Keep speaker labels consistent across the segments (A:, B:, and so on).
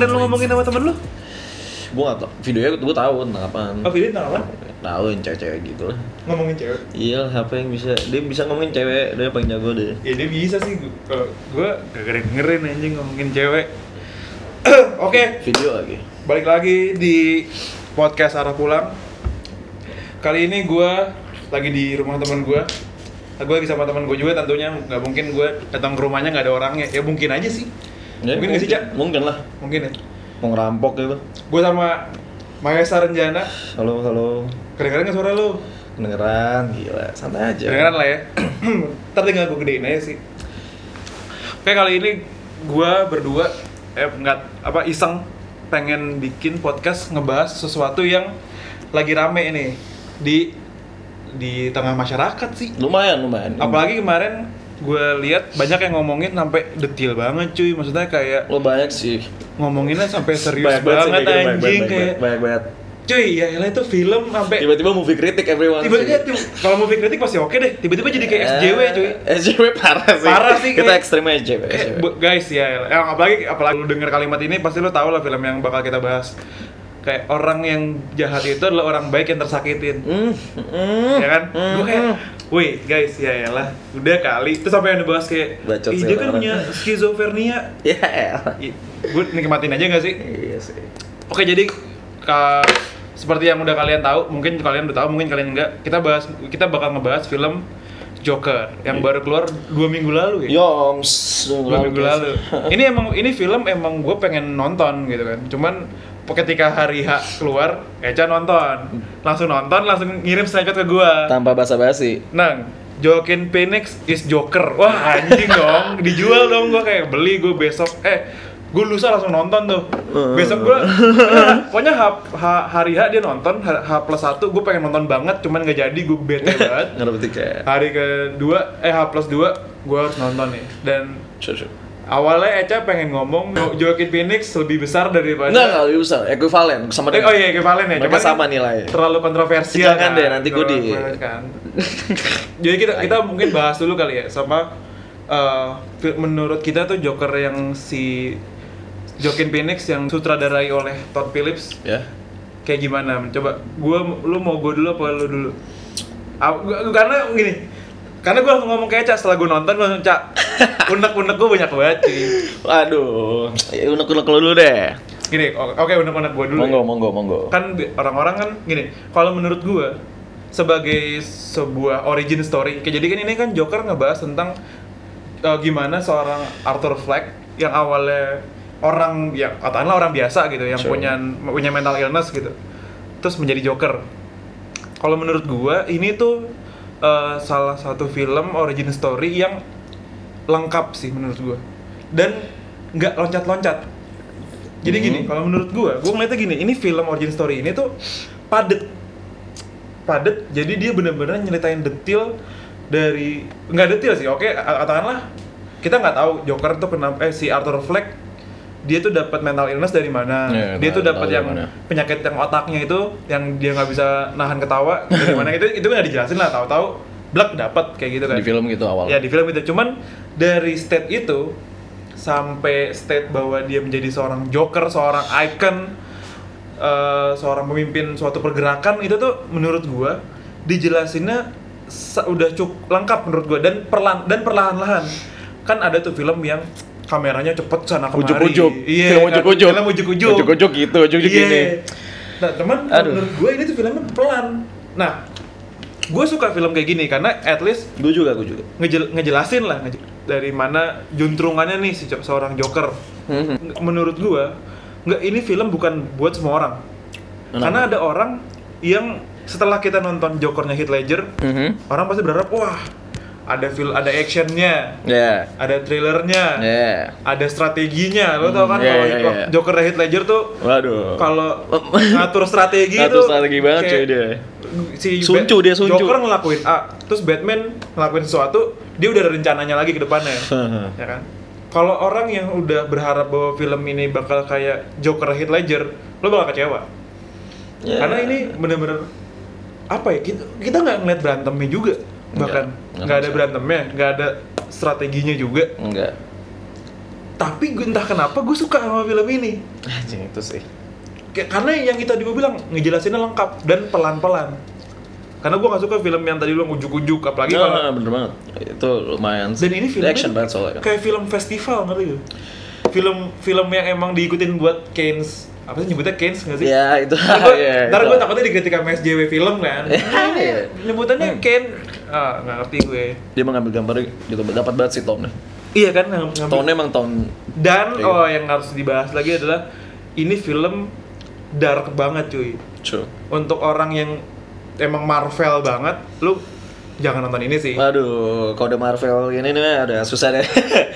A: sama temen lu?
B: gue nggak tau videonya gue tahu tentang apaan
A: Oh, video tentang apa?
B: tahu yang cewek-cewek gitu lah
A: Ngomongin cewek.
B: iya lah, apa yang bisa dia bisa ngomongin cewek dia paling jago deh
A: Ya dia bisa sih. Gu- Kalau gua gak keren dengerin anjing ngomongin cewek. Oke,
B: video lagi
A: balik lagi di podcast arah pulang. Kali ini gua lagi di rumah teman gua. Nah, gue lagi sama teman gue juga tentunya nggak mungkin gua datang ke rumahnya nggak ada orangnya ya mungkin aja sih
B: Ya,
A: mungkin nggak sih cak
B: mungkin lah
A: mungkin ya
B: mau ngerampok gitu
A: gue sama Mahesa Renjana
B: halo halo
A: kedengeran nggak suara lu
B: kedengeran gila santai aja
A: Kedengeran lah ya. Ntar tinggal gue gedein aja sih. Oke kali ini gue berdua eh nggak apa iseng pengen bikin podcast ngebahas sesuatu yang lagi rame ini di di tengah masyarakat sih.
B: lumayan lumayan
A: Apalagi kemarin gue lihat banyak yang ngomongin sampai detail banget cuy. Maksudnya kayak
B: lo banyak sih
A: ngomonginnya sampai serius
B: Banyak banget sih
A: banget,
B: kayak gitu, banyak
A: anjing
B: banget,
A: kayak
B: banyak banget
A: cuy ya elah itu film sampai
B: tiba-tiba movie kritik everyone
A: tiba-tiba
B: sih.
A: tuh, kalau movie kritik pasti oke deh tiba-tiba jadi kayak
B: Eh,
A: SJW cuy
B: SJW parah sih
A: Parah sih,
B: kita
A: kayak-
B: ekstrim SJW,
A: Eh, bu- guys ya, yang apalagi apalagi lu denger kalimat ini pasti lu tahu lah film yang bakal kita bahas. Kayak orang yang jahat itu adalah orang baik yang tersakitin.
B: Hmm, hmm,
A: Ya kan?
B: hmm,
A: Gue kayak
B: hmm.
A: Wih guys, ya lah, udah kali. Terus sampai yang dibahas kayak,
B: Bacot
A: "Ih,
B: sih
A: dia kan
B: orang-orang."
A: punya skizofrenia.
B: ya elah.
A: Gue nikmatin aja gak sih?
B: iya sih
A: Oke jadi ka- seperti yang udah kalian tahu, mungkin kalian udah tahu, mungkin kalian enggak. Kita bahas, kita bakal ngebahas film Joker yang
B: Iya.
A: baru keluar dua minggu lalu ya.
B: Yoms
A: dua minggu lalu. ini emang ini film emang gue pengen nonton gitu kan. Cuman ketika hari H keluar, Eca nonton, langsung nonton, langsung ngirim snapchat ke gue.
B: tanpa basa-basi
A: Nang, Joaquin Phoenix is Joker. Wah anjing dong, dijual dong gue kayak beli gue besok. Eh, gue lusa langsung nonton tuh. Besok gue, pokoknya H, H- hari H dia nonton, H, H plus satu gue pengen nonton banget, cuman nggak jadi gue bete banget.
B: nggak dapet tiket
A: Hari kedua, eh H plus dua gue harus nonton nih. Dan
B: Sure, sure.
A: Awalnya Eca pengen ngomong Jo- Joaquin Phoenix lebih besar daripada
B: Enggak, enggak lebih besar, ekuivalen sama
A: Eh,
B: dengan
A: oh iya, kevalen ya.
B: Mereka
A: cuman
B: sama
A: kan
B: nilainya.
A: Terlalu kontroversial kan,
B: Silakan deh, nanti gua di-
A: Terlalu kan. Jadi kita kita mungkin bahas dulu kali ya sama eh, fil- menurut kita tuh Joker yang si Joaquin Phoenix yang sutradarai oleh Todd Phillips
B: ya.
A: kayak gimana? Coba gua lu mau gua dulu apa lu dulu? Ah, gua- karena gini, karena gua langsung ngomong kayak Cak setelah gua nonton gua langsung Cak unek-unek gua banyak banget cuy.
B: Waduh, ya, unek-unek lu dulu deh.
A: Gini, o- oke unek-unek gua dulu. ya.
B: Monggo, monggo, monggo.
A: kan bi- orang-orang kan gini kalau menurut gua sebagai sebuah origin story kayak jadi kan ini kan Joker ngebahas tentang eh, gimana seorang Arthur Fleck yang awalnya orang yang katakanlah orang biasa gitu yang
B: Sure.
A: punya punya mental illness gitu terus menjadi Joker kalau menurut gua ini tuh eh, salah satu film origin story yang lengkap sih menurut gua dan nggak loncat-loncat jadi gini, kalau menurut gua, gua ngeliatnya gini, ini film origin story ini tuh padet. Padet, jadi dia bener-bener nyeritain detail dari nggak detail sih. Oke, a- katakanlah kita nggak tahu Joker tuh kenapa eh si Arthur Fleck dia tuh dapat mental illness dari mana.
B: Iya,
A: dia tuh
B: nggak
A: dapat
B: tahu
A: yang
B: dari mana.
A: penyakit yang otaknya itu yang dia nggak bisa nahan ketawa dari mana itu itu nggak dijelasin lah tahu-tahu black dapat kayak gitu kan.
B: Di film gitu awal.
A: Ya di film itu cuman dari state itu sampai state bahwa dia menjadi seorang joker, seorang icon, eh, seorang pemimpin suatu pergerakan itu tuh menurut gua dijelasinnya se- udah cukup lengkap menurut gua dan perlahan dan perlahan-lahan kan ada tuh film yang kameranya cepet sana kemari.
B: Ujuk-ujuk.
A: Iya,
B: Film
A: kan?
B: ujuk-ujuk.
A: Film ujuk-ujuk.
B: Ujuk-ujuk gitu, ujuk-ujuk
A: Iya.
B: gini.
A: Nah, teman
B: Aduh.
A: menurut gua ini tuh filmnya pelan. Nah, gue suka film kayak gini karena at least
B: Gue juga, gue juga.
A: ngejel- ngejelasin lah ngejel- dari mana juntrungannya nih si jo- seorang Joker.
B: Mhm.
A: Nge- Menurut gua, nggak ini film bukan buat semua orang.
B: Kenapa?
A: Karena ada orang yang setelah kita nonton Jokernya Heath Ledger,
B: Mhm.
A: orang pasti berharap wah ada film ada actionnya,
B: Ya.
A: ada thrillernya,
B: Ya.
A: ada strateginya. Lo tau kan
B: Hmm, iya,
A: kalau
B: iya, iya.
A: Joker Heath Ledger tuh
B: Waduh.
A: kalau ngatur strategi itu
B: Ngatur strategi banget
A: kayak
B: cuy dia.
A: si
B: Suncu
A: Bat-
B: dia, suncu.
A: Joker ngelakuin A terus Batman ngelakuin sesuatu dia udah ada rencananya lagi ke depannya ya kan kalau orang yang udah berharap bahwa film ini bakal kayak Joker Heath Ledger lo bakal kecewa
B: Ya.
A: karena ini bener-bener apa ya kita kita nggak ngeliat berantemnya juga
B: Nggak,
A: bahkan
B: nggak
A: nggak ada
B: bisa.
A: berantemnya nggak ada strateginya juga
B: Enggak.
A: tapi gue entah kenapa gue suka sama film ini
B: Anjing itu sih.
A: Kayak- karena yang kita gue bilang ngejelasinnya lengkap dan pelan-pelan karena gue gak suka film yang tadi lu bilang ujuk-ujuk apalagi
B: Nah,
A: kalau
B: nah, bener banget. Itu lumayan.
A: dan ini filmnya
B: action
A: tuh
B: banget soalnya. Kan.
A: kayak film festival ngerti gak? film film yang emang diikutin buat Keynes apa sih nyebutnya Keynes gak sih?
B: Ya itu.
A: Ntar gue,
B: ya,
A: ntar
B: itu.
A: gue takutnya dikritik sama SJW film kan
B: Iya. Hmm.
A: Nah, ini nyebutannya Ken ah nggak ngerti gue
B: Dia mengambil gambar gitu dapat banget sih tone.
A: iya kan yang- yang-
B: Tone emang tone.
A: dan
B: Iya.
A: oh yang harus dibahas lagi adalah ini film dark banget cuy
B: True.
A: untuk orang yang emang Marvel banget lu jangan nonton ini sih
B: Waduh, kode Marvel ini nih ada susah deh.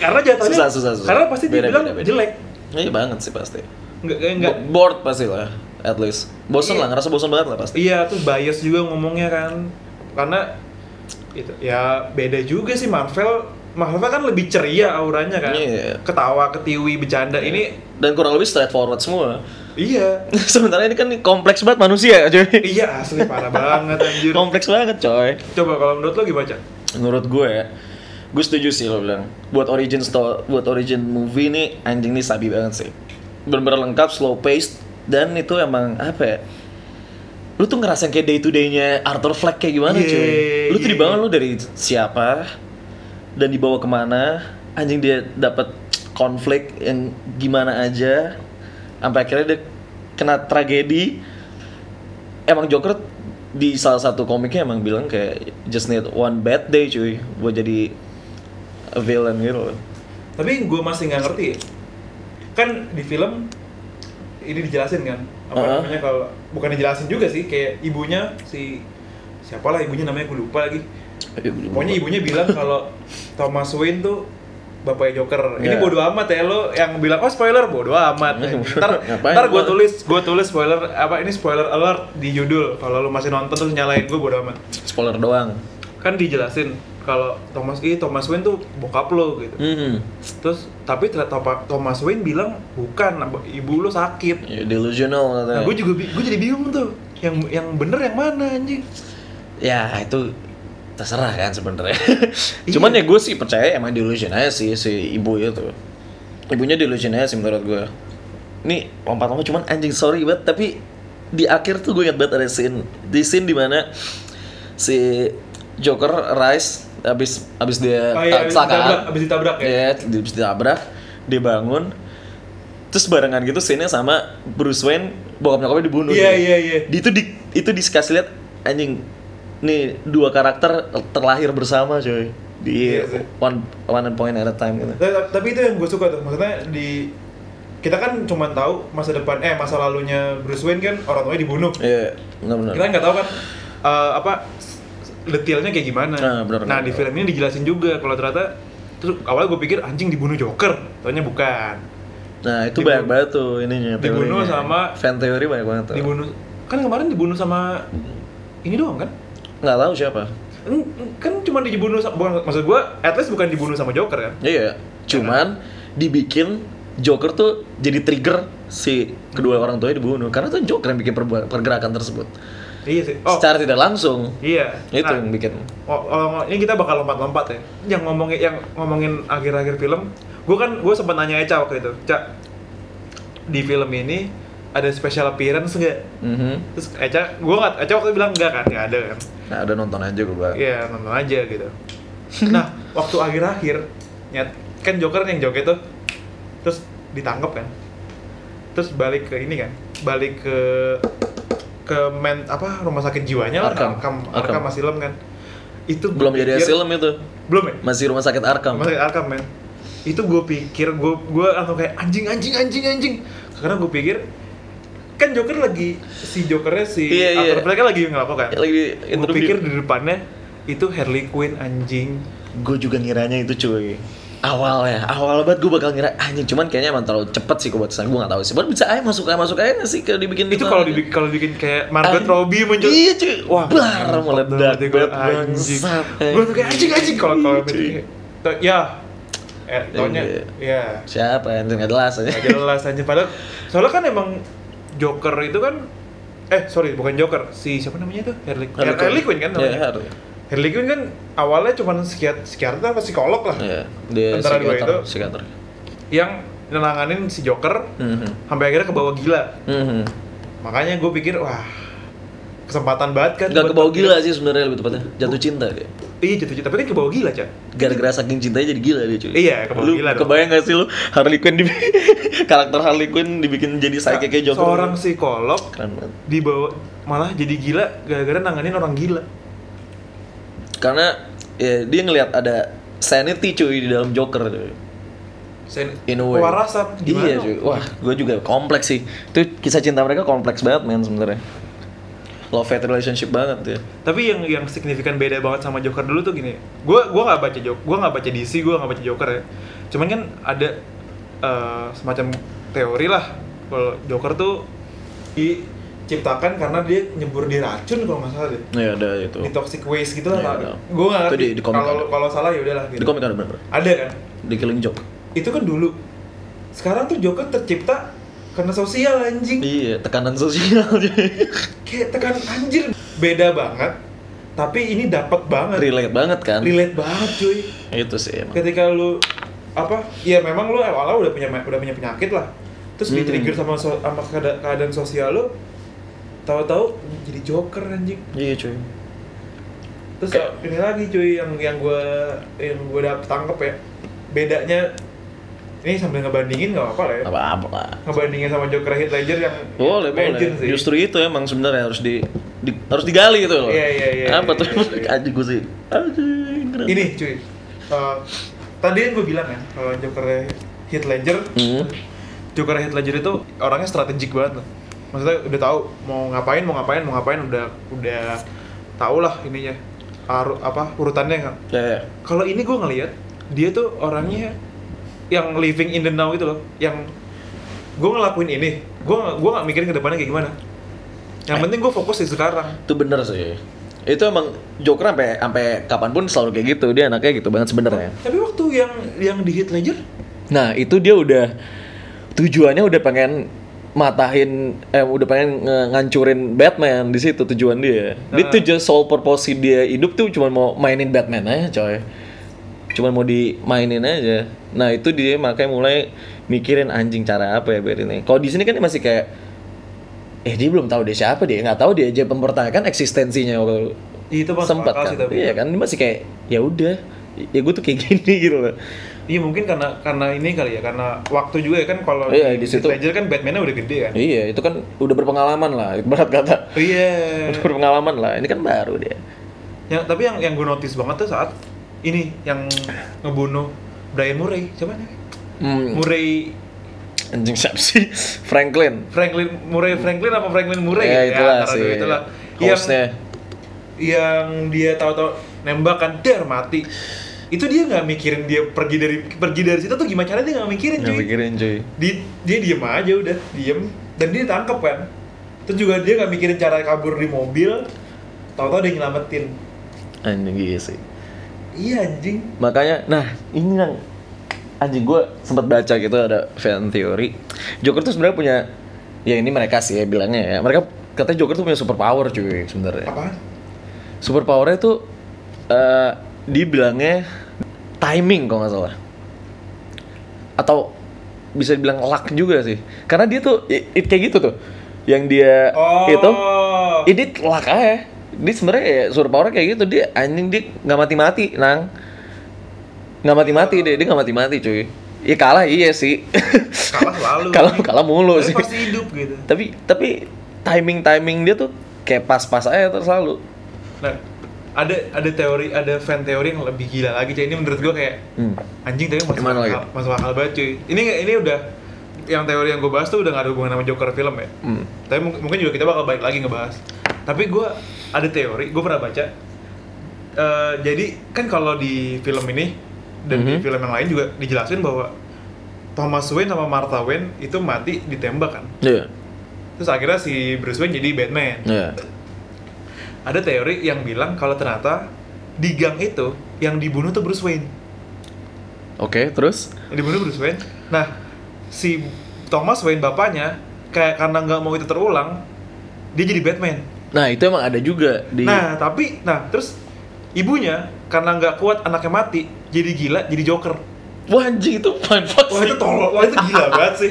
A: karena jatuhnya
B: susah, susah, susah.
A: karena pasti
B: Beda,
A: dibilang
B: beda, beda.
A: jelek
B: Iya banget sih pasti.
A: nggak nggak
B: Bo- Bored pasti lah, at least. Bosen
A: Iya.
B: lah, ngerasa bosen banget lah pasti.
A: Iya, tuh bias juga ngomongnya kan. Karena itu ya beda juga sih Marvel. Marvel kan lebih ceria auranya kan.
B: Iya.
A: Ketawa, ketiwi, bercanda. Ini
B: Dan kurang lebih straightforward semua.
A: iya.
B: Sementara ini kan kompleks banget manusia, coy.
A: iya, asli parah banget anjir.
B: kompleks banget, coy.
A: Coba kalau menurut lo gimana, Cak?
B: Menurut gue, ya, gue setuju sih lo bilang. Buat origin story, buat origin movie ini anjing ini sabi banget sih. Bener-bener lengkap, slow paced dan itu emang apa ya? Lu tuh ngerasain kayak day to day-nya Arthur Fleck kayak gimana cuy.
A: Yeay,
B: Lu tuh
A: yeay.
B: dibangun lu dari siapa dan dibawa kemana? Anjing dia dapat konflik yang gimana aja sampai akhirnya dia kena tragedi emang Joker di salah satu komiknya emang bilang kayak just need one bad day cuy buat jadi a villain gitu loh.
A: Tapi gue masih nggak ngerti. Kan di film ini dijelasin kan apa
B: Uh-uh.
A: namanya kalau bukan dijelasin juga sih kayak ibunya si siapalah ibunya namanya gue lupa lagi
B: Iya,
A: Pokoknya ibunya bilang kalau Thomas Wayne tuh bapaknya Joker. Ini
B: Iya.
A: bodo amat ya lo yang bilang oh spoiler bodo amat. Ntar,
B: Ngapain
A: ntar gue
B: gua?
A: tulis gue tulis spoiler apa ini spoiler alert di judul. Kalau lo masih nonton terus nyalain gue bodo amat.
B: spoiler doang.
A: Kan dijelasin kalau Thomas I Thomas Wayne tuh bokap lo gitu.
B: Hmm.
A: Terus tapi ternyata Thomas- Thomas Wayne bilang bukan ab- ibu lo sakit.
B: Ya, delusional katanya.
A: Nah, gue juga gue jadi bingung tuh. Yang yang bener yang mana anjing?
B: Ya itu terserah kan sebenarnya. Cuman ya gue sih percaya emang delusion aja sih si ibu itu. Ibunya delusion aja sih menurut gue. Nih lompat-lompat cuman anjing sorry banget tapi di akhir tuh gue ingat banget ada scene di scene dimana si Joker rise abis abis dia
A: Oh, iya,
B: ah,
A: abis
B: kecelakaan.
A: ditabrak- abis ditabrak ya?
B: Iya, di- abis ditabrak, dia bangun. Terus barengan gitu scene-nya sama Bruce Wayne bokap nyokapnya dibunuh.
A: Iya
B: gitu.
A: iya iya.
B: Di- itu di itu dikasih lihat anjing nih dua karakter terlahir bersama coy di
A: Iya sih.
B: one one point at a time gitu
A: Ta- Tapi itu yang gue suka tuh, maksudnya di kita kan cuma tahu masa depan eh masa lalunya Bruce Wayne kan orang tuanya dibunuh.
B: iya benar benar
A: Kita nggak tahu kan eh, apa s- detailnya kayak gimana.
B: Nah, benar,
A: nah
B: benar.
A: di film ini dijelasin juga kalau ternyata terus awalnya gue pikir anjing dibunuh Joker, taunya bukan.
B: nah itu
A: Dibunuh-
B: banyak banget tuh ininya
A: dibunuh
B: teorinya.
A: sama-
B: fan theory banyak banget tuh
A: Dibunuh kan kemarin dibunuh sama
B: Mm-hmm.
A: ini doang kan?
B: nggak tahu siapa
A: Eng- eng- Kan cuma dibunuh sama, bukan, maksud gue, at least bukan dibunuh sama Joker kan?
B: iya cuman dibikin Joker tuh jadi trigger si kedua orang tuanya dibunuh karena tuh Joker yang bikin perbu- pergerakan tersebut
A: Iya sih. Oh,
B: secara tidak langsung
A: iya.
B: itu
A: Nah,
B: yang bikin
A: Oh, oh, ini kita bakal lompat-lompat ya. Yang ngomongin yang ngomongin akhir-akhir film, gue kan gue sempat nanya Eca waktu itu, Ca, di film ini ada special appearance nggak?
B: Mhm.
A: Terus Eca, gue nggak, Eca waktu itu bilang nggak kan, nggak ada kan?
B: nah udah nonton aja gue bilang
A: Iya nonton aja gitu. Nah waktu akhir-akhir, nyat, kan Joker yang joget tuh, terus ditangkap kan, terus balik ke ini kan, balik ke ke men apa rumah sakit jiwanya lah,
B: Arkham.
A: Arkham,
B: Arkham.
A: Arkham, Asylum kan. Itu
B: belum
A: gua
B: jadi
A: pikir-
B: film itu
A: belum ya?
B: masih rumah sakit Arkham
A: Masih Arkham men itu gue pikir gue gue langsung kayak anjing anjing anjing anjing karena gue pikir kan Joker lagi si Jokernya si
B: Iya, iya.
A: Arthur Fleck kan lagi ngelapor kan
B: lagi
A: gue pikir di depannya itu Harley Quinn anjing
B: gue juga ngiranya itu cuy awal ya awal banget gue bakal ngira anjing cuman kayaknya emang terlalu cepet sih keputusan gue gak tahu sih baru bisa aja masuk aja masuk aja nggak sih kalau dibikin
A: itu
B: gitu?
A: kalau dibikin kalau bikin kayak Margot
B: Anjing.
A: Robbie muncul
B: iya cuy wah
A: wah
B: bar meledak
A: gue
B: banget
A: anjing
B: bangsat.
A: gue tuh kayak anjing anjing kalau kalau
B: Iya, cuy.
A: to- ya eh, taunya
B: Iya.
A: ya
B: siapa anjing nggak jelas aja
A: Gak jelas aja padahal soalnya kan emang Joker itu kan eh sorry bukan Joker si siapa namanya itu Harley, Harley, Quinn kan
B: Iya,
A: namanya
B: Harley.
A: Harley Quinn kan awalnya cuman psikiat psikiater apa psikolog lah
B: Iya, dia
A: Antara dua
B: psikiater,
A: itu.
B: psikiater.
A: yang nenanganin si Joker
B: Mhm.
A: sampai akhirnya kebawa gila.
B: Mhm.
A: Makanya gue pikir wah kesempatan banget kan. buat
B: Nggak kebawa
A: Batman.
B: gila sih sebenarnya lebih tepatnya. Jatuh cinta dia.
A: Iya jatuh cinta, tapi kan kebawa gila cak.
B: Gara-gara saking cintanya jadi gila dia cuy.
A: Iya, kebawa
B: lu,
A: gila dong.
B: Kebayang gak sih lu Harley Quinn di karakter Harley Quinn dibikin jadi psychic kayak Joker.
A: Seorang psikolog
B: keren banget.
A: dibawa malah jadi gila gara-gara nanganin orang gila.
B: Karena ya, dia ngelihat ada sanity cuy di dalam Joker cuy.
A: Sen
B: In a way.
A: Kewarasan gimana?
B: Iya cuy. Wah, gue juga kompleks sih. Itu kisah cinta mereka kompleks banget men sebenarnya. Love hate relationship banget ya.
A: Tapi yang yang signifikan beda banget sama Joker dulu tuh gini. Gua gua nggak baca Joker, gua nggak baca DC, gua nggak baca Joker ya. Cuman kan ada eh, semacam teori lah kalau Joker tuh diciptakan karena dia nyebur di racun kalau nggak salah deh.
B: Iya ada itu.
A: Di toxic waste gitu lah.
B: Iya,
A: Pak.
B: iya.
A: gua nggak
B: Itu
A: ngerti.
B: di- di komik
A: Kalau
B: ada.
A: kalau salah ya udahlah gitu.
B: Di komik ada bener
A: Ada kan?
B: Di Killing Joke.
A: Itu kan dulu. Sekarang tuh Joker tercipta karena sosial anjing.
B: Iya, tekanan sosial cuy.
A: kayak tekan anjir beda banget tapi ini dapat banget
B: Relate banget kan?
A: relate banget cuy
B: Itu sih emang.
A: ketika lu apa ya memang lu awal udah punya udah punya penyakit lah terus
B: Hmm.
A: di trigger sama so- sama keada- keadaan sosial lu tahu-tahu jadi joker anjing
B: Iya cuy.
A: terus
B: Kayak-
A: ini lagi cuy yang yang gua yang gua dapet tangkep ya bedanya ini sambil ngebandingin nggak apa-apa lah ya
B: Apa apa lah.
A: ngebandingin sama joker hit ledger yang
B: Boleh, boleh.
A: legend Ya, sih
B: Justru itu emang sebenarnya harus di, di- harus digali itu loh.
A: Iya, iya, iya, iya,
B: Apa tuh?
A: iya, iya.
B: Anjing gue sih. Anjing keren.
A: ini cuy Eh, tadi yang gue bilang ya kalau Joker Heath Ledger
B: Hmm.
A: Joker Heath Ledger itu orangnya strategik banget lah maksudnya udah tahu mau ngapain mau ngapain mau ngapain udah udah tahu lah ininya aru, apa urutannya kan
B: Ya, ya.
A: kalau ini gue ngelihat dia tuh orangnya yang living in the now gitu loh yang gue ngelakuin ini gue gue nggak mikirin ke depannya kayak gimana
B: Eh.
A: yang penting gue fokus di sekarang
B: Itu bener sih. Itu emang Joker sampai sampai kapanpun selalu kayak gitu. Dia anaknya gitu banget sebenarnya.
A: tapi waktu yang yang di Heath Ledger
B: Nah, itu dia udah tujuannya udah pengen matahin eh udah pengen nge- ngancurin Batman di situ tujuan dia. Dia
A: Nah.
B: tujuan sole purpose dia hidup tuh cuma mau mainin Batman aja, coy. Cuma mau dimainin aja. Nah, itu dia makanya mulai mikirin anjing cara apa ya biar ini. Kalau di sini kan masih kayak eh dia belum tahu dia siapa dia nggak tahu dia aja mempertanyakan eksistensinya waktu
A: itu masuk
B: sempat
A: akal
B: kan
A: sih, tapi.
B: iya kan dia masih kayak ya udah ya gue tuh kayak gini gitu loh
A: Iya mungkin karena karena ini kali ya karena waktu juga ya kan kalau
B: Iya, di situ.
A: Ledger kan Batman-nya udah gede kan.
B: Iya, itu kan udah berpengalaman lah, berat kata.
A: Iya.
B: Udah berpengalaman lah, ini kan baru dia.
A: Yang tapi yang yang gue notice banget tuh saat ini yang ngebunuh Brian Murray. Siapa nih?
B: Hmm,
A: Murray
B: anjing siapa sih? Franklin.
A: Franklin Murray Franklin apa Franklin Murray?
B: ya, itulah
A: antara
B: sih.
A: dua itulah. Yang
B: Hostnya.
A: yang dia tahu-tahu nembak kan der mati. Itu dia nggak mikirin dia pergi dari pergi dari situ tuh gimana caranya dia nggak mikirin
B: Nggak
A: cuy.
B: mikirin cuy.
A: di, dia diem aja udah diem dan dia ditangkep kan terus juga dia nggak mikirin cara kabur di mobil tahu-tahu dia nyelamatin
B: Anjing iya sih.
A: iya anjing
B: Makanya, nah ini yang anjing gue sempat baca gitu ada fan theory. Joker tuh sebenarnya punya ya ini mereka sih ya bilangnya ya. Mereka katanya Joker tuh punya super power cuy sebenarnya.
A: apaan
B: super powernya tuh eh dibilangnya timing kalau nggak salah atau bisa dibilang luck juga sih karena dia tuh i- i- kayak gitu tuh yang dia
A: oh
B: itu ini luck aja dia sebenarnya ya super power kayak gitu dia anjing dia nggak mati mati nang nggak mati mati dia dia nggak mati mati cuy ya kalah iya sih
A: kalah selalu
B: kalah kalah mulu
A: Tapi
B: sih
A: pasti hidup gitu
B: tapi tapi timing timing dia tuh kayak pas pas aja terus selalu
A: nah ada ada teori ada fan teori yang lebih gila lagi cuy ini menurut gua kayak
B: Hmm.
A: anjing tapi masuk
B: Gimana
A: akal,
B: lagi?
A: masuk akal banget cuy ini ini udah yang teori yang gue bahas tuh udah gak ada hubungan sama Joker film ya
B: Hmm.
A: tapi mung- mungkin juga kita bakal balik lagi ngebahas tapi gue ada teori gue pernah baca Eh, jadi kan kalau di film ini dan di
B: Mhm.
A: film yang lain juga dijelasin bahwa Thomas Wayne sama Martha Wayne itu mati ditembak kan
B: Iya.
A: terus akhirnya si Bruce Wayne jadi Batman
B: Iya.
A: ada teori yang bilang kalau ternyata di gang itu yang dibunuh tuh Bruce Wayne
B: Oke, terus?
A: yang dibunuh Bruce Wayne nah si Thomas Wayne bapaknya kayak karena nggak mau itu terulang dia jadi Batman
B: Nah, itu emang ada juga di
A: Nah, tapi nah terus ibunya karena nggak kuat anaknya mati, jadi gila, jadi Joker.
B: Wah anjing itu fun fact
A: Wah
B: sih.
A: itu tolol, wah itu gila banget sih.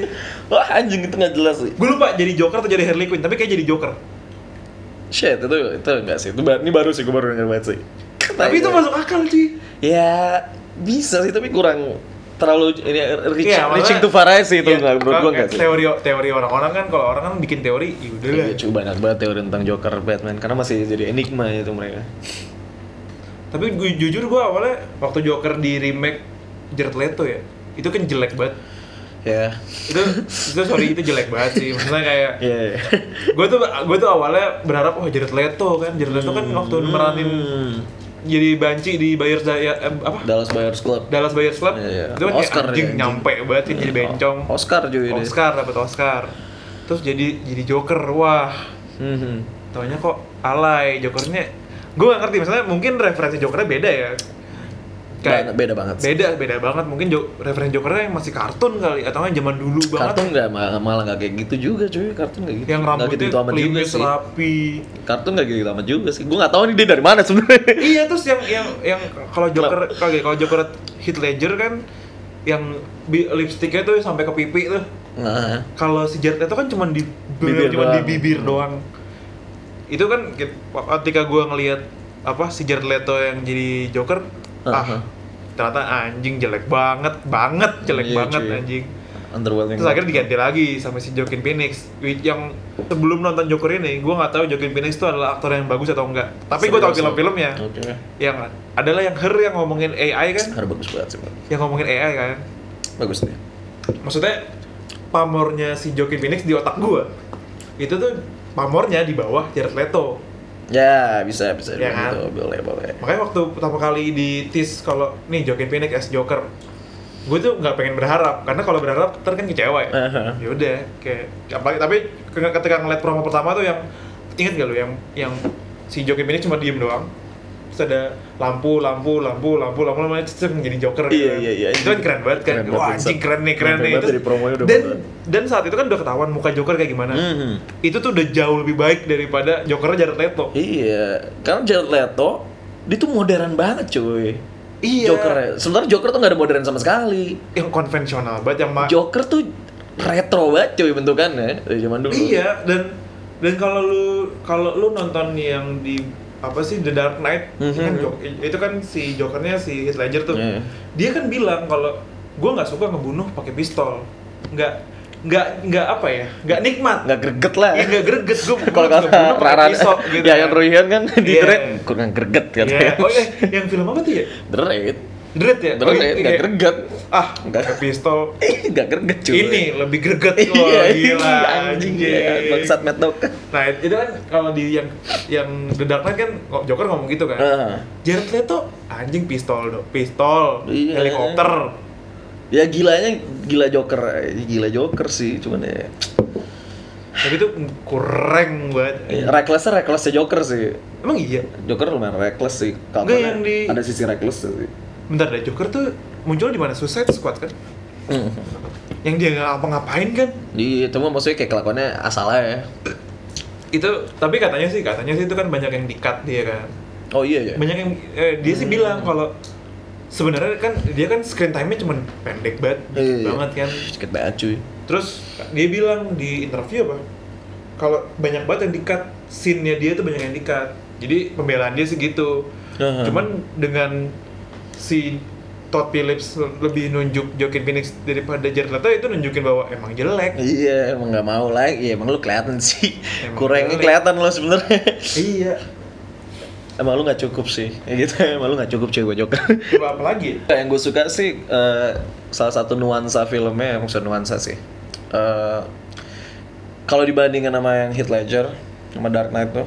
B: Wah anjing itu nggak jelas sih.
A: Gue lupa jadi Joker atau jadi Harley Quinn, tapi kayak jadi Joker.
B: Shit itu itu enggak sih. Itu ba- ini baru sih gue baru denger banget sih.
A: Tapi
B: Iya.
A: itu masuk akal sih.
B: Ya bisa sih tapi kurang terlalu ini reaching,
A: Iya, makanya-
B: reaching too far aja sih itu
A: Iya,
B: nggak menurut gue nggak sih.
A: Teori teori orang-orang kan kalau orang kan bikin teori, ya udah lah.
B: Iya, coba banyak banget teori tentang Joker Batman karena masih jadi enigma itu mereka.
A: Tapi gue jujur gue awalnya waktu Joker di remake Jared Leto ya, itu kan jelek banget.
B: Ya.
A: Itu itu sorry itu jelek banget sih. Maksudnya kayak
B: Iya. iya.
A: gue tuh gue tuh awalnya berharap oh Jared Leto kan Jared Leto kan waktu meranin
B: Hmm.
A: jadi banci di Bayers Daya eh, apa
B: Dallas Buyers Club.
A: Dallas Buyers Club
B: Iya, iya.
A: itu kan kayak
B: Oscar
A: anjing
B: dia, anjing. Iya.
A: nyampe banget sih jadi bencong
B: Oscar juga ini.
A: Oscar dapat Oscar terus jadi jadi Joker wah
B: Mhm.
A: taunya kok alay Jokernya gue gak ngerti misalnya mungkin referensi Jokernya beda ya
B: Ba- beda banget sih.
A: beda beda banget mungkin jo- referensi Jokernya yang masih kartun kali atau yang zaman dulu banget
B: Kartun nggak ma- malah nggak kayak gitu juga cuy. Kartun nggak gitu.
A: yang
B: nggak
A: rambutnya
B: gitu-gitu amat juga
A: klimis
B: sih.
A: rapi
B: Kartun nggak gitu amat juga sih. Gue nggak tahu nih dia dari mana sebenarnya.
A: iya terus yang yang yang kalau Joker kalau kalau Joker Heath Ledger kan yang bi- lipstiknya tuh sampai ke pipi tuh.
B: Nah,
A: Kalau si Jared Leto kan cuman di cuman
B: Bibir
A: di
B: doang. Hmm.
A: bibir doang. Itu kan ke- ketika gua ngelihat apa si Jared Leto yang jadi Joker,
B: Aha.
A: ah ternyata anjing jelek banget, banget jelek
B: Iya,
A: banget
B: cuy.
A: anjing.
B: underwhelming.
A: Terus akhirnya diganti lagi sama si Joaquin Phoenix Wi- yang sebelum nonton Joker ini, gua nggak tahu Joaquin Phoenix itu adalah aktor yang bagus atau enggak. Tapi gua tahu
B: Serius,
A: film-filmnya
B: Oke.
A: yang adalah yang her yang ngomongin AI kan
B: Harus bagus banget sih. Bang.
A: yang ngomongin AI kan
B: Bagus nih.
A: maksudnya pamornya si Joaquin Phoenix di otak gua itu tuh pamornya di bawah Jared Leto
B: Ya bisa bisa
A: Ya
B: dibilang
A: kan?
B: gitu. boleh boleh.
A: makanya waktu pertama kali di tease kalau nih Joaquin Phoenix as Joker gue tuh nggak pengen berharap karena kalau berharap ntar kan kecewa ya
B: Aha.
A: ya udah kayak apalagi tapi ke- ketika ngeliat promo pertama tuh yang inget gak lu yang yang si Joaquin Phoenix cuma diem doang terus ada lampu lampu lampu lampu lampu lampu terus menjadi Joker
B: Iya,
A: kan.
B: iya, iya.
A: itu kan keren banget kan
B: Keren banget,
A: wah anjing
B: Vincent.
A: keren nih keren
B: Keren
A: nih
B: banget
A: Terus-
B: dari promonya udah
A: dan
B: banget.
A: dan saat itu kan udah ketahuan muka Joker kayak gimana
B: Mhm.
A: itu tuh udah jauh lebih baik daripada Jokernya Jared Leto
B: Iya, karena Jared Leto dia tuh modern banget cuy.
A: Iya.
B: Jokernya. Sebenarnya Joker tuh nggak ada modern sama sekali.
A: yang konvensional banget yang ma-
B: Joker tuh retro banget cuy bentukannya dari zaman dulu.
A: Iya dan dan kalau lu kalau lu nonton yang di apa sih The Dark Knight itu kan
B: Mhm.
A: Jok- itu kan si Jokernya si Heath Ledger tuh
B: Iya.
A: dia kan bilang kalau gua nggak suka ngebunuh pakai pistol nggak nggak nggak apa ya nggak nikmat
B: Nggak greget lah.
A: ya nggak greget gua gua
B: Kalau
A: nggak bunuh
B: kata
A: pakai
B: Rara,
A: pisau gitu
B: ya yang Ruhian kan di
A: Iya.
B: Dread kurang greget kan.
A: Iya. oh eh, yang film apa tuh ya
B: Dread.
A: Dread ya Oh,
B: Dread
A: iya,
B: nggak
A: kayak,
B: greget.
A: ah
B: Nggak.
A: pakai pistol
B: Nggak greget cuy.
A: ini lebih greget loh
B: Iya,
A: gila
B: iya, anjing ya, bangsat Mad Dog.
A: Nah itu kan kalau di yang yang The Dark Knight kan Joker ngomong gitu kan.
B: Ah.
A: Jared Leto anjing pistol dong, pistol,
B: Iya.
A: helikopter.
B: Ya gilanya gila Joker, eh, gila Joker sih, cuman ya
A: Tapi itu kurang
B: Iya.
A: banget.
B: Eh, recklessnya recklessnya Joker sih.
A: Emang iya.
B: Joker lumayan reckless sih. Kalau
A: Nggak, yang di-
B: ada sisi reckless sih.
A: Bentar deh Joker tuh muncul di mana Suicide Squad kan?
B: Hmm.
A: Yang dia nggak apa ngapain kan?
B: Iya, cuma maksudnya kayak kelakuannya asal aja. ya.
A: Itu tapi katanya sih katanya sih itu kan banyak yang dikat dia kan.
B: Oh iya Hmm. ya.
A: Banyak yang eh, dia sih bilang kalau sebenarnya kan dia kan screen time-nya cuman pendek banget, dikit banget kan.
B: Sedikit Iya, banget cuy.
A: Terus dia bilang di interview apa? Kalau banyak banget yang di-cut, scene-nya dia tuh banyak yang di-cut. Jadi pembelaan dia sih gitu.
B: Aha.
A: Cuman dengan si Todd Phillips lebih nunjuk Joaquin Phoenix daripada Jared Leto itu nunjukin bahwa emang jelek.
B: Iya, emang nggak mau lah. Iya, emang lu kelihatan sih.
A: Emang
B: Kurangnya
A: jelek.
B: kelihatan lo sebenarnya.
A: iya.
B: emang lu nggak cukup sih. Ya gitu, emang lu nggak cukup cuy gue Joker.
A: Coba apa lagi?
B: Nah, yang gue suka sih eh, salah satu nuansa filmnya, maksudnya nuansa sih. Eh, Kalau dibandingkan sama yang Heath Ledger, sama Dark Knight tuh,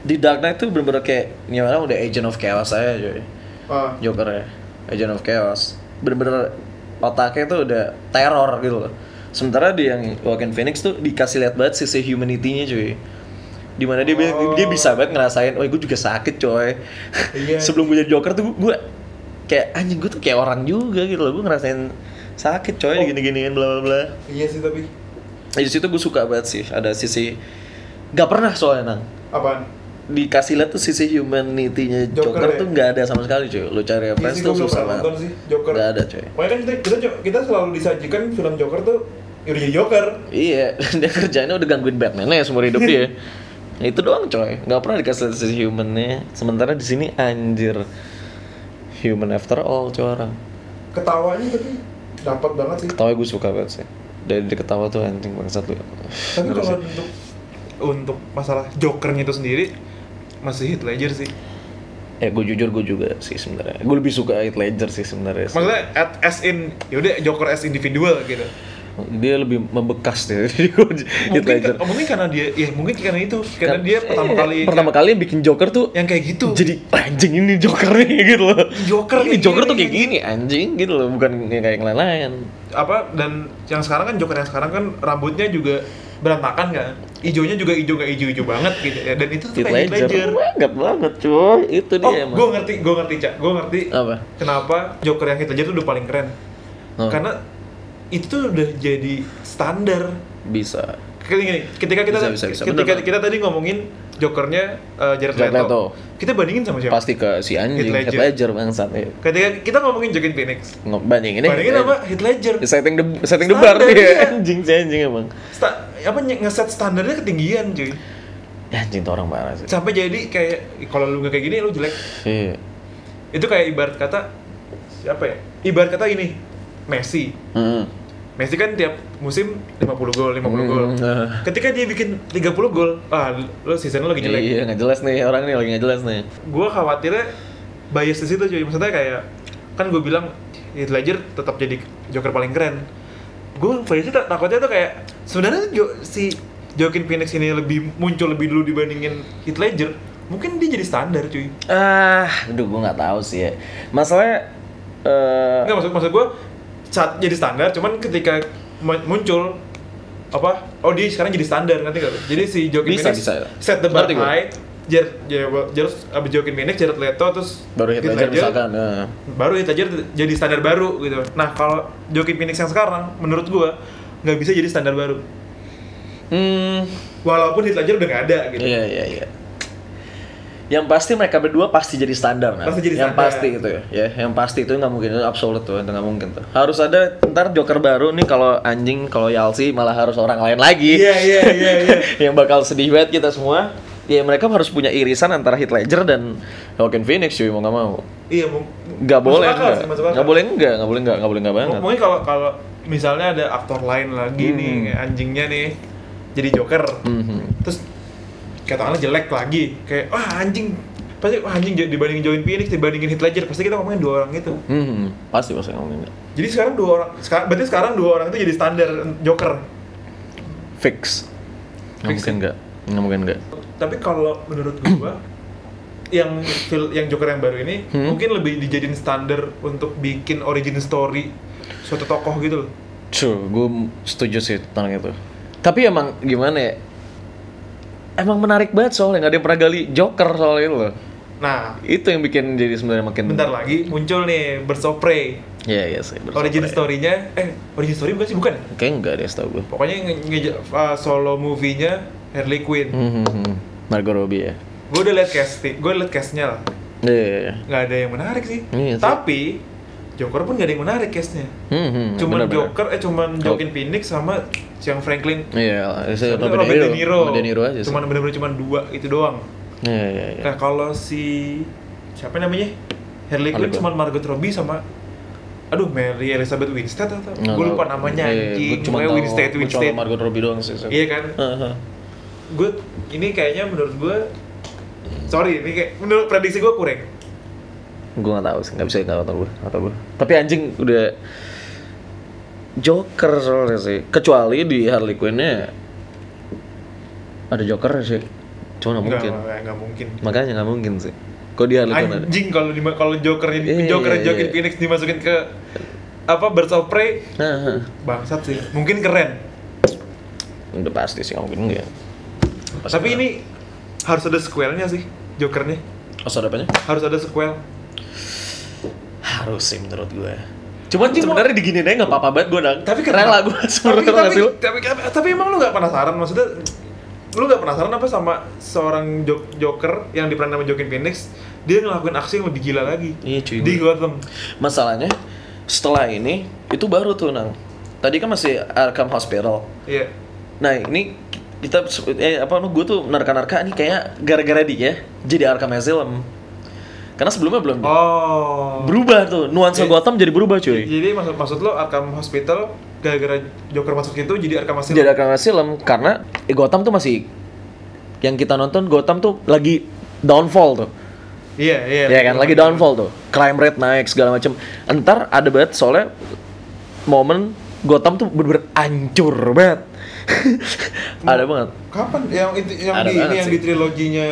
B: di Dark Knight tuh bener-bener kayak gimana udah Agent of Chaos aja cuy.
A: Ah,
B: Joker ya, Agent of Chaos. Bener-bener otaknya tuh udah teror gitu loh. Sementara di yang Joaquin Phoenix tuh dikasih lihat banget sisi humanity-nya cuy. Dimana dia, bi-
A: Oh.
B: dia bisa banget ngerasain, oh gue juga sakit coy.
A: Iya.
B: Sebelum gue jadi Joker tuh gue kayak anjing gue tuh kayak orang juga gitu loh. Gue ngerasain sakit
A: Oh.
B: coy, gini-giniin bla bla bla.
A: iya sih tapi
B: Nah, Di situ gue suka banget sih ada sisi gak pernah soalnya nang
A: apaan?
B: dikasih lihat tuh sisi humanity-nya Joker,
A: Joker ya?
B: tuh nggak ada sama sekali cuy. Lu cari apa
A: Iya sih,
B: Ya, tuh
A: gua belum
B: susah
A: pernah nonton
B: banget.
A: sih Joker.
B: Nggak ada cuy.
A: Makanya kan kita, kita, kita selalu disajikan film Joker tuh ya udah jadi Joker.
B: Iya, dia kerjanya udah gangguin Batman ya seumur hidup dia. Ya, itu doang coy, nggak pernah dikasih lihat sisi humannya. Sementara di sini anjir, human after all coy orang.
A: Ketawanya tapi dapat banget sih.
B: Ketawa gue suka banget sih. Dari dia ketawa tuh anjing bangsat lu.
A: Tapi kalau untuk untuk masalah Jokernya itu sendiri masih hit Ledger sih.
B: Eh gue jujur gue juga sih sebenarnya. Gue lebih suka Heath Ledger sih sebenarnya. sih.
A: Maksudnya at, as in yaudah Joker as individual gitu.
B: Dia lebih membekas deh. Jadi gue Heath
A: Mungkin,
B: Ledger.
A: oh, mungkin karena dia ya mungkin karena itu karena
B: Kan-
A: dia pertama
B: iya,
A: kali
B: pertama kali yang bikin Joker tuh
A: yang kayak gitu.
B: jadi anjing ini Joker nih gitu loh.
A: Joker
B: ini
A: kayak
B: Joker
A: gini,
B: tuh kayak
A: anjing.
B: gini anjing gitu loh, bukan yang kayak yang lain-lain.
A: apa dan yang sekarang kan Joker yang sekarang kan rambutnya juga berantakan kan ijonya juga ijo nggak ijo ijo banget gitu ya dan itu tuh
B: Heath
A: kayak Heath
B: Ledger,
A: Ledger
B: banget banget cuy, itu dia Oh.
A: oh
B: emang.
A: gue ngerti gue ngerti cak gue ngerti
B: Apa?
A: kenapa Joker yang Heath Ledger tuh udah paling keren
B: Hmm.
A: karena itu tuh udah jadi standar
B: Bisa.
A: Kayak gini, ketika kita
B: Bisa, bisa, bisa.
A: ketika
B: Bener,
A: kita tadi ngomongin Jokernya eh, Jared,
B: Jared
A: Leto.
B: Leto.
A: kita bandingin sama siapa
B: Pasti ke si anjing
A: Heath Ledger.
B: Heath Ledger bangsat ya.
A: ketika kita ngomongin Joaquin Phoenix
B: Bandingin Eh,
A: bandingin sama Heath Ledger
B: setting the setting the bar
A: Standar, iya.
B: dia anjing si anjing emang.
A: Sta- apa nye- ngeset standarnya ketinggian cuy
B: Ya anjing tuh orang parah sih.
A: sampai jadi kayak kalau lu nggak kayak gini lu jelek
B: Iya.
A: itu kayak ibarat kata siapa ya ibarat kata ini Messi
B: Heeh.
A: Messi kan tiap musim 50 gol 50 gol
B: Hmm, eh.
A: ketika dia bikin 30 gol ah lo season lo lagi jelek
B: Iya, nggak jelas nih orang nih lagi nggak jelas nih.
A: gue khawatirnya bias di situ cuy maksudnya kayak kan gue bilang Heath Ledger tetap jadi Joker paling keren gue biasanya tak- takutnya tuh kayak sebenarnya Jo- si Joaquin Phoenix ini lebih muncul lebih dulu dibandingin Heath Ledger mungkin dia jadi standar cuy
B: Ah, aduh gue nggak tahu sih ya. Masalahnya eh
A: Enggak maksud maksud gue saat jadi standar cuman ketika mu- muncul apa oh dia sekarang jadi standar nanti gak lu? jadi si Joaquin
B: Bisa,
A: Phoenix
B: bisa. ya.
A: set the bar
B: Ngerti gue.
A: high Jared, Jared, Jared, abis Joaquin Phoenix, Jared Leto, terus
B: baru Heath Ledger misalkan. eh.
A: baru Heath Ledger jadi standar baru gitu nah kalau Joaquin Phoenix yang sekarang menurut gua nggak bisa jadi standar baru
B: Hmm,
A: walaupun Heath Ledger udah nggak ada gitu
B: iya iya iya. Yang pasti mereka berdua pasti jadi standar, nah.
A: Pasti jadi
B: yang
A: standar.
B: pasti gitu ya, ya, yang pasti itu nggak mungkin itu absolut tuh, itu nggak mungkin tuh. Harus ada ntar Joker baru nih kalau anjing kalau Yalsi malah harus orang lain lagi.
A: iya iya iya iya
B: yang bakal sedih banget kita semua. Ya mereka harus punya irisan antara Heath Ledger dan Joaquin Phoenix cuy mau nggak mau.
A: iya mung-
B: Nggak
A: masuk
B: boleh
A: akal
B: enggak.
A: sih, masuk akal.
B: Nggak boleh enggak, nggak boleh enggak, nggak boleh enggak
A: M-
B: banget.
A: mungkin kalau kalau misalnya ada aktor lain lagi
B: Hmm.
A: nih kayak anjingnya nih jadi Joker
B: Mhm.
A: terus katakanlah jelek lagi kayak wah anjing pasti wah anjing j- dibandingin Joaquin Phoenix dibandingin Heath Ledger pasti kita ngomongin dua orang itu
B: Mhm. Pasti pasti ngomongin nggak.
A: jadi sekarang dua orang sekarang berarti sekarang dua orang itu jadi standar Joker
B: Fix. Nggak
A: Fix
B: mungkin
A: ya?
B: enggak. Nggak mungkin enggak.
A: tapi kalau menurut gua yang fil- yang Joker yang baru ini
B: Hmm.
A: mungkin lebih dijadiin standar untuk bikin origin story suatu tokoh gitu loh
B: True, gue setuju sih tentang itu. Tapi emang gimana ya? Emang menarik banget soalnya nggak ada yang pernah gali Joker soalnya itu loh.
A: nah
B: Itu yang bikin jadi sebenarnya makin
A: bentar lagi muncul nih Birds of Prey
B: Iya, iya sih. bersama
A: origin
B: ya.
A: story-nya eh origin story bukan sih bukan ya?
B: Kayaknya enggak deh setahu gue.
A: pokoknya nge- nge- uh, solo movie-nya Harley Quinn
B: Mhm, mhm. Margot Robbie ya.
A: gua udah liat casting gua liat castnya lah
B: Iya, iya, iya.
A: nggak ada yang menarik sih
B: Iya sih.
A: tapi Joker pun nggak ada yang menarik castnya
B: Mhm,
A: cuman
B: benar-benar.
A: Joker eh cuman
B: Jo-
A: Joaquin Phoenix sama Siang Franklin
B: Iya, saya
A: Sebenarnya Robert, De Niro.
B: Robert De Niro aja sih.
A: Cuman bener-bener cuman dua itu doang.
B: Iya, iya, iya.
A: Nah, kalau si siapa namanya? Harley
B: Harley
A: Quinn cuman Margot Robbie sama aduh Mary Elizabeth Winstead atau
B: Nggak
A: gue lupa
B: tahu.
A: namanya
B: Iya, iya,
A: anjing
B: gua cuma
A: pokoknya
B: tahu-
A: Winstead
B: gua cuma
A: Winstead
B: tahu Margot Robbie doang sih.
A: iya kan
B: Heeh.
A: gue ini kayaknya menurut gue sorry ini kayak menurut prediksi gue kurang
B: gue nggak tahu sih nggak bisa nggak tahu gue nggak tahu gue tapi anjing udah Joker soalnya sih kecuali di Harley Quinnnya ada Joker sih cuma nggak
A: nggak
B: mungkin
A: nggak mungkin
B: makanya nggak mungkin sih kok di Harley Quinn ada
A: anjing kalau di kalau Joker
B: Iya,
A: Joker
B: iya,
A: Joaquin
B: iya.
A: Phoenix dimasukin ke apa Birds of Prey
B: Nah, nah.
A: bangsat sih mungkin keren
B: udah pasti sih nggak mungkin enggak Pasti
A: Tapi ini harus ada sequelnya sih, Jokernya.
B: oh ada apanya
A: Harus ada sequel.
B: harus sih menurut gue cuman sebenarnya diginiin aja nggak apa-apa banget gue nang
A: Tapi
B: rela gue
A: tapi,
B: sebenarnya
A: tapi,
B: nggak sih lu?
A: tapi, tapi, tapi emang lu gak penasaran maksudnya lu gak penasaran apa sama seorang jok- Joker yang diperan sama Joaquin Phoenix dia ngelakuin aksi yang lebih gila lagi
B: Iya, cuy.
A: di Gotham
B: Masalahnya setelah ini itu baru tuh nang. Tadi kan masih Arkham Hospital.
A: iya
B: Nah ini kita eh, apa gue tuh narka-narka ini kayak gara-gara dia jadi Arkham Asylum. Karena sebelumnya belum.
A: oh Iya.
B: Berubah tuh nuansa
A: Jadi-
B: Gotham jadi berubah cuy.
A: jadi maksud maksud lo Arkham Hospital gara-gara Joker masuk situ jadi Arkham Asylum
B: Jadi Arkham Asylum karena eh, Gotham tuh masih yang kita nonton Gotham tuh lagi downfall tuh.
A: iya iya
B: Ya kan lagi downfall tuh. Crime rate naik segala macam. Entar ada banget soalnya momen Gotham tuh bener-bener hancur banget. ada banget.
A: kapan yang itu yang di
B: Ada
A: ini
B: banget
A: yang
B: sih.
A: di triloginya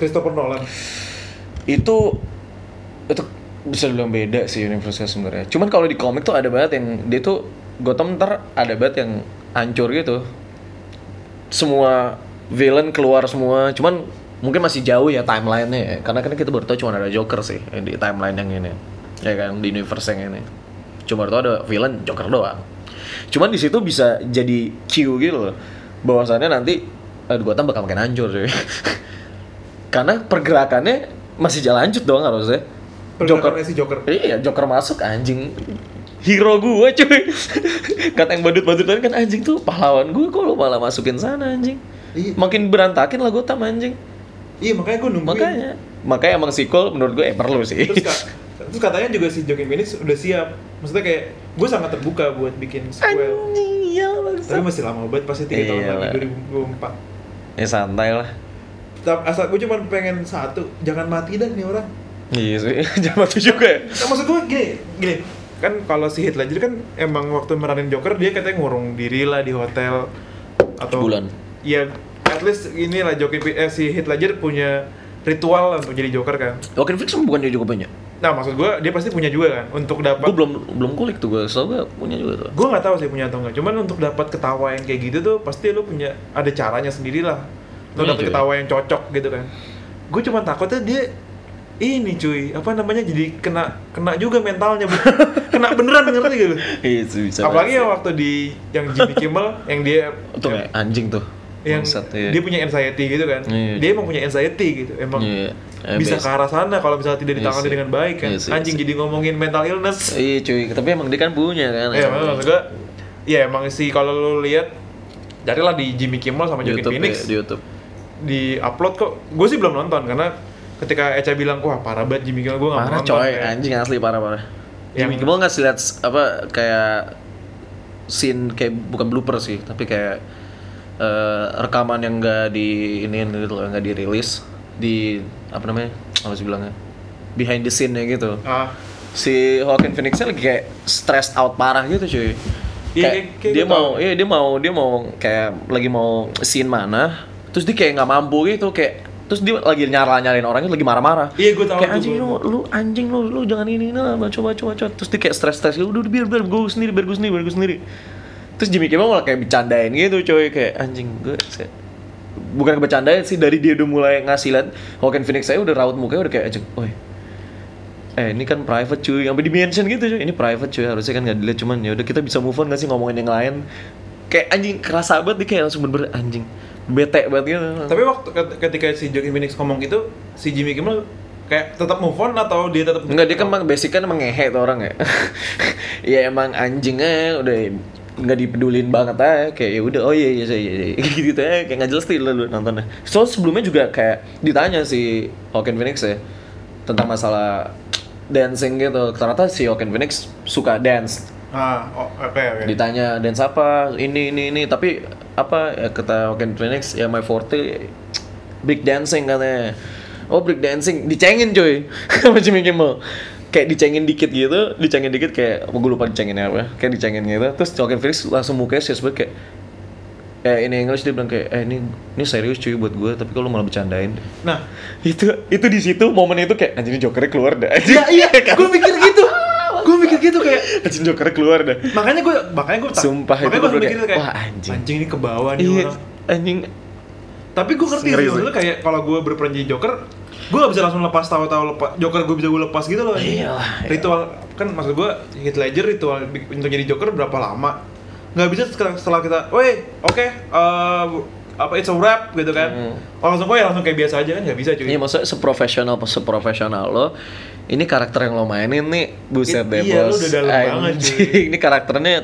A: Christopher Nolan
B: Itu itu bisa dibilang beda sih universe sebenarnya. Cuman kalau di komik tuh ada banget yang dia tuh Gotham ntar ada banget yang hancur gitu. Semua villain keluar semua. Cuman mungkin masih jauh ya timelinenya ya. Karena kan kita baru tahu cuma ada Joker sih yang di timeline yang ini. Ya kan di universe yang ini. Cuma baru tahu ada villain Joker doang. Cuman di situ bisa jadi cue gitu loh. Bahwasannya nanti aduh Gotham bakal makin hancur cuy. Karena pergerakannya masih jalan lanjut dong harusnya. Joker
A: pergerakannya si Joker
B: Iya, Joker masuk anjing. Hero gue cuy. Kata yang badut-badut tadi kan anjing tuh pahlawan gue kok lo malah masukin sana anjing.
A: Iya.
B: Makin berantakin lah Gotham anjing.
A: iya makanya gue nungguin
B: Makanya makanya emang sequel menurut gue eh perlu sih.
A: terus, ka- terus katanya juga si Joaquin Phoenix udah siap maksudnya kayak gue sangat terbuka buat bikin sequel
B: Anjing ya
A: tapi masih lama banget pasti 3 tahun
B: Iya
A: lagi
B: lah.
A: 2004
B: Ya santai lah.
A: Ta- asal gue cuma pengen satu jangan mati dah nih orang
B: Iya sih, jangan mati juga ya.
A: nah, maksud gue gini gini kan kalau si Heath Ledger kan emang waktu meranin Joker dia katanya ngurung diri lah di hotel atau
B: Sebulan.
A: ya at least inilah Joaquin Phoenix- eh, si Heath Ledger punya ritual lah untuk jadi Joker kan
B: Joaquin Phoenix bukan dia juga punya.
A: nah maksud gue dia pasti punya juga kan untuk dapat
B: Gue belum belum kulik tuh gue, soalnya gue punya juga tuh.
A: gue nggak tahu sih punya atau nggak cuman untuk dapat ketawa yang kayak gitu tuh pasti lu punya ada caranya sendiri lah untuk
B: Iya,
A: dapat
B: cuy.
A: ketawa yang cocok gitu kan gue cuma takutnya dia ini cuy apa namanya jadi kena kena juga mentalnya Bu. kena beneran ngerti gitu
B: Iya sih bisa.
A: apalagi yang waktu di yang Jimmy Kimmel yang dia
B: tuh kayak anjing tuh.
A: yang
B: Bangsat, iya.
A: dia punya anxiety gitu kan
B: Iya,
A: dia emang punya anxiety gitu emang
B: Iya, iya.
A: bisa
B: Biasa.
A: ke arah sana kalau misalnya tidak
B: Iya
A: ditangani
B: sih.
A: dengan baik kan
B: Iya sih, iya
A: anjing
B: sih.
A: jadi ngomongin mental illness
B: Iya cuy, tapi emang dia kan punya kan.
A: Iya, memang maksud gua, ya emang sih kalau lu lihat carilah di Jimmy Kimmel sama
B: di
A: Joaquin
B: YouTube,
A: Phoenix
B: ya, di YouTube.
A: di upload kok. Gue sih belum nonton karena ketika Eca bilang wah parah banget Jimmy Kimmel gue nggak mau
B: Parah
A: Oh, nonton.
B: coy,
A: kayak,
B: anjing asli parah parah.
A: Yang-
B: Jimmy Kimmel nggak sih lihat apa kayak scene kayak bukan blooper sih, tapi kayak eh, rekaman yang nggak di ini gitu loh, nggak dirilis di apa namanya? Apa sih bilangnya? Behind the scene-nya gitu.
A: ah,
B: si Joaquin Phoenix lagi kayak stressed out parah gitu cuy
A: Iya,
B: kayak
A: kayak- kayak
B: dia
A: gua
B: mau iya dia mau dia mau kayak lagi mau scene mana terus dia kayak nggak mampu gitu kayak terus dia lagi nyala nyalain orangnya lagi marah-marah
A: Iya, gua tahu
B: kayak
A: tuh,
B: anjing
A: gua
B: lu lu anjing lu lu jangan ini ini lah coba coba coba terus dia kayak stress stress gitu udah udah, biar biar gue sendiri biar gue sendiri biar gue sendiri terus Jimmy Kimmel malah kayak bercandain gitu coy kayak anjing gue saya- bukan bercandain sih dari dia udah mulai ngasih liat Joaquin Phoenix saya udah raut mukanya udah kayak anjing oi eh ini kan private cuy sampai di mention gitu cuy ini private cuy harusnya kan nggak dilihat cuman ya udah kita bisa move on gak sih ngomongin yang lain kayak anjing kerasa banget dia kayak langsung bener-bener anjing bete banget gitu
A: Tapi waktu ket- ketika si Joaquin Phoenix ngomong gitu, si Jimmy Kimmel kayak tetap move on atau dia tetap
B: Enggak dia kan emang basic kan emang ngehe tuh orang ya. ya emang anjingnya udah nggak dipedulin banget aja kayak ya udah oh iya iya iya, iya. gitu aja kayak nggak jelas tuh lu nontonnya. So sebelumnya juga kayak ditanya si Joaquin Phoenix ya tentang masalah dancing gitu. Ternyata si Joaquin Phoenix suka dance.
A: ah oh, oke oke.
B: Ditanya dance apa? Ini ini ini tapi apa ya, kata Joaquin Phoenix ya my forte break dancing katanya. Oh break dancing dicengin cuy sama Jimmy Kimmel. Kayak dicengin dikit gitu, dicengin dikit kayak apa gue lupa dicenginnya apa. Kayak dicengin gitu. Terus Joaquin Phoenix langsung mukanya serius banget kayak eh ini English dia bilang kayak eh ini ini serius cuy buat gue tapi kalau malah bercandain
A: Nah,
B: itu itu di situ momen itu kayak anjir ini jokernya keluar dah anjir
A: iya iya,
B: kan?
A: gue mikir gitu, gue mikir gitu kayak
B: anjir jokernya keluar dah
A: makanya gue makanya gue
B: Sumpah, itu
A: makanya
B: gua
A: gue
B: bener
A: mikir
B: kayak,
A: kayak
B: wah, anjing.
A: anjing ini ke bawah nih
B: iya
A: orang.
B: anjing
A: Tapi gue ngerti sih,
B: Ngeri sih.
A: maksudnya kayak kalau gue berperan jadi Joker, gue gak bisa langsung lepas tahu-tahu lepas Joker gue bisa gue lepas gitu loh.
B: Iyalah, iya.
A: Ritual kan maksud gue Heath Ledger ritual bi- untuk jadi Joker berapa lama? Gak bisa sekarang setelah kita, weh, oke, eh, apa it's a wrap gitu kan oh, langsung oh ya langsung kayak biasa aja kan nggak bisa cuy
B: Hmm. Iya maksudnya seprofesional seprofesional lo ini karakter yang lo mainin nih buset
A: I-
B: deh
A: iya, lo
B: bos.
A: udah dalam banget,
B: Anjing,
A: cuy.
B: ini karakternya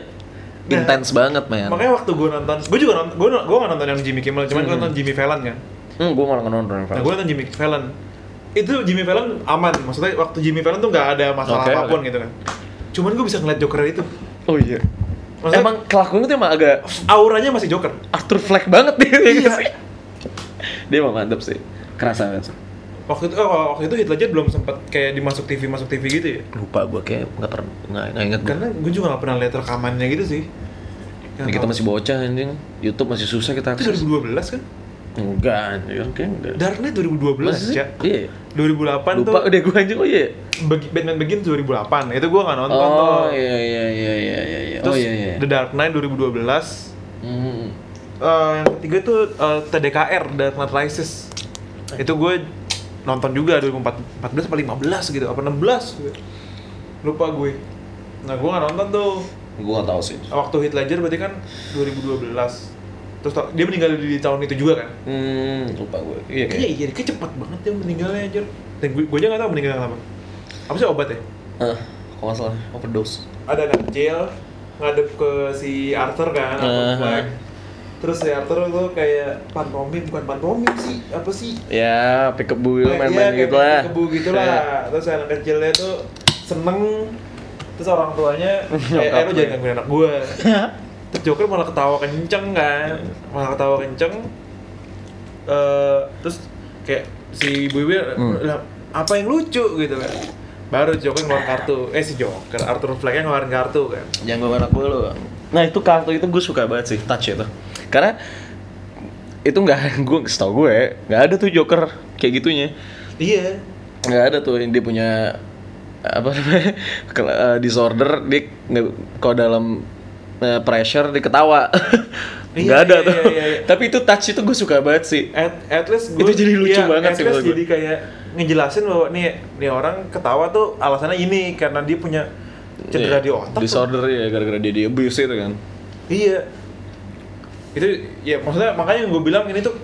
A: Nah,
B: intens banget man.
A: makanya waktu gue nonton gue juga nonton gue gue nggak nonton yang Jimmy Kimmel cuman gue nonton Jimmy Fallon kan
B: Hmm, gue malah nonton
A: Nah, gue nonton Jimmy Fallon. Itu Jimmy Fallon aman. Maksudnya waktu Jimmy Fallon tuh nggak ada masalah
B: Oke,
A: apapun gitu kan. Cuman gue bisa ngeliat Joker itu.
B: Oh iya.
A: Maksudnya-
B: Emang kelakuannya tuh emang agak
A: Auranya masih Joker.
B: Arthur Fleck banget dia. ya
A: Iya.
B: nggak sih? dia emang mantep sih. Kerasa banget. sih.
A: Waktu itu oh, waktu itu Heath Ledger belum sempat kayak dimasuk TV masuk TV gitu ya.
B: Lupa gue kayak nggak pernah nggak nggak inget gue.
A: Karena gue juga nggak pernah lihat rekamannya gitu sih.
B: Ini kita masih bocah anjing. YouTube masih susah
A: kan,
B: kita
A: itu
B: akses.
A: 2012 kan?
B: Enggak anjing, kayak enggak.
A: Dark Knight 2012
B: Masa sih?
A: ya.
B: Iya.
A: 2008
B: Lupa
A: tuh
B: udah gue anjing. Oh iya.
A: Begi- Batman Begins 2008. Itu gue nggak nonton tuh.
B: Oh iya iya iya iya iya. iya.
A: Terus
B: oh iya iya.
A: The Dark Knight 2012.
B: Hmm.
A: Eh, yang ketiga tuh eh, TDKR Dark Knight Rises itu gue nonton juga 2014 apa 15 gitu apa 16 gitu. lupa gue nah gue nggak nonton tuh
B: Gue gak tau sih.
A: waktu Heath Ledger berarti kan 2012 terus tau- dia meninggal di, di tahun itu juga kan
B: Hmm, lupa gue. Iya
A: iya
B: kayak.
A: iya kayak cepet banget dia meninggalnya anjir dan gue, gue aja nggak tahu meninggal kenapa apa sih obat ya
B: Ah, kalau nggak salah overdose.
A: ada anak jail ngadep ke si Arthur kan
B: Uh-huh.
A: Arthur Fleck. terus si Arthur tuh kayak pantomim bukan pantomim sih apa sih
B: Ya, pick up buil
A: Nah,
B: main-main
A: iya,
B: gitu lah. Iya.
A: Kebu gitu lah. Terus anak kecilnya tuh seneng. Terus orang tuanya, eh, eh lu
B: Nyokapnya.
A: jangan gangguin anak gue. Terus Joker malah ketawa kenceng kan.
B: Iya.
A: Malah ketawa kenceng. Eh, terus kayak si ibu-ibu
B: Hmm.
A: "Lah, apa yang lucu gitu kan. Baru Joker ngeluarin kartu. Eh si Joker, Arthur Fleck yang ngeluarin kartu kan.
B: Jangan gue anak gue lo. Nah, itu kartu itu gue suka banget sih, touch itu. Karena itu nggak gue setahu gue nggak ada tuh joker kayak gitunya
A: Iya.
B: nggak ada tuh dia punya apa namanya kel- eh, disorder dia nggak kalau dalam eh, pressure dia ketawa
A: Iya,
B: nggak ada
A: iya,
B: tuh
A: iya, iya.
B: tapi itu touch itu gue suka banget sih
A: At, at least gue
B: Itu jadi lucu banget
A: at least
B: sih menurut gue.
A: jadi kayak ngejelasin bahwa nih nih orang ketawa tuh alasannya ini karena dia punya cedera
B: Iya.
A: di otak
B: disorder ya gara-gara dia di abuse itu kan
A: Iya. Itu ya maksudnya makanya gue bilang ini tuh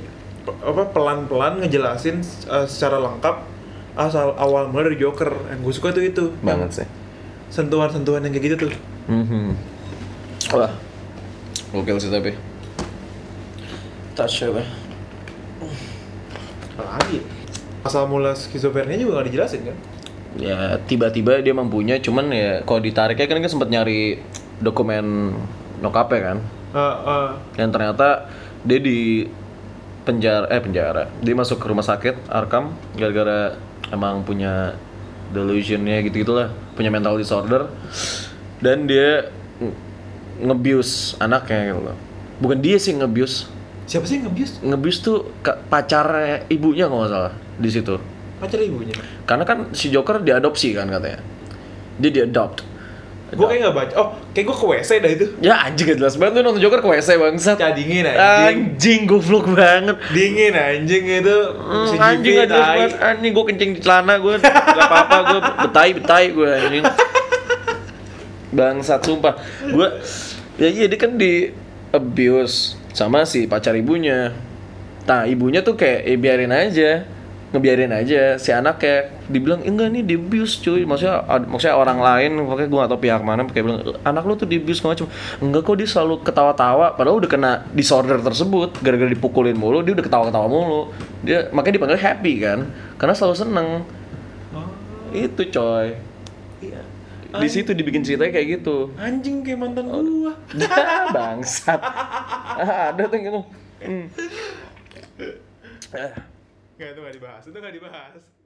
A: pe- apa pelan-pelan ngejelasin uh, secara lengkap asal awal mula dari Joker yang gue suka tuh itu
B: banget sih
A: sentuhan-sentuhan yang kayak gitu tuh
B: Mhm. wah gokil sih tapi touch apa
A: apalagi ya? asal mula skizofrenia juga gak dijelasin kan
B: ya tiba-tiba dia mempunyai cuman ya kalau ditariknya kan kan sempat nyari dokumen nyokapnya kan
A: Eh, eh,
B: dan ternyata dia di penjara eh penjara dia masuk ke rumah sakit Arkham gara-gara emang punya delusionnya gitu gitulah punya mental disorder dan dia nge- ngebius anaknya gitu loh bukan dia sih yang ngebius
A: siapa sih yang ngebius
B: ngebius tuh ka- pacarnya ibunya kalau nggak salah di situ
A: pacar ibunya
B: karena kan si Joker diadopsi kan katanya dia diadopt
A: gue kayak gak baca oh kayak gue ke WC dah itu
B: ya anjing gak jelas banget lu nonton Joker ke WC bangsat
A: Cah, dingin, anjing.
B: anjing goblok banget
A: dingin anjing itu
B: Hmm,
A: si
B: anjing
A: Jipi,
B: gak jelas
A: tai.
B: banget anjing gue kencing di celana gue gak apa-apa gue betai betai gue anjing bangsat sumpah gue ya iya dia kan di abuse sama si pacar ibunya nah ibunya tuh kayak eh, biarin aja ngebiarin aja si anak kayak dibilang "Eh, enggak nih di abuse cuy maksudnya ad- maksudnya orang lain pokoknya gue gak tau pihak mana kayak bilang anak lu tuh di abuse nggak cuma enggak kok dia selalu ketawa-tawa padahal udah kena disorder tersebut gara-gara dipukulin mulu dia udah ketawa-ketawa mulu dia makanya dipanggil happy kan karena selalu seneng
A: Oh,
B: itu coy
A: iya.
B: di situ dibikin ceritanya kayak gitu
A: anjing kayak mantan gua
B: Dah, bangsat Ah, ada tuh yang gitu Hmm. Ah.
A: Gak, itu gak dibahas, itu gak dibahas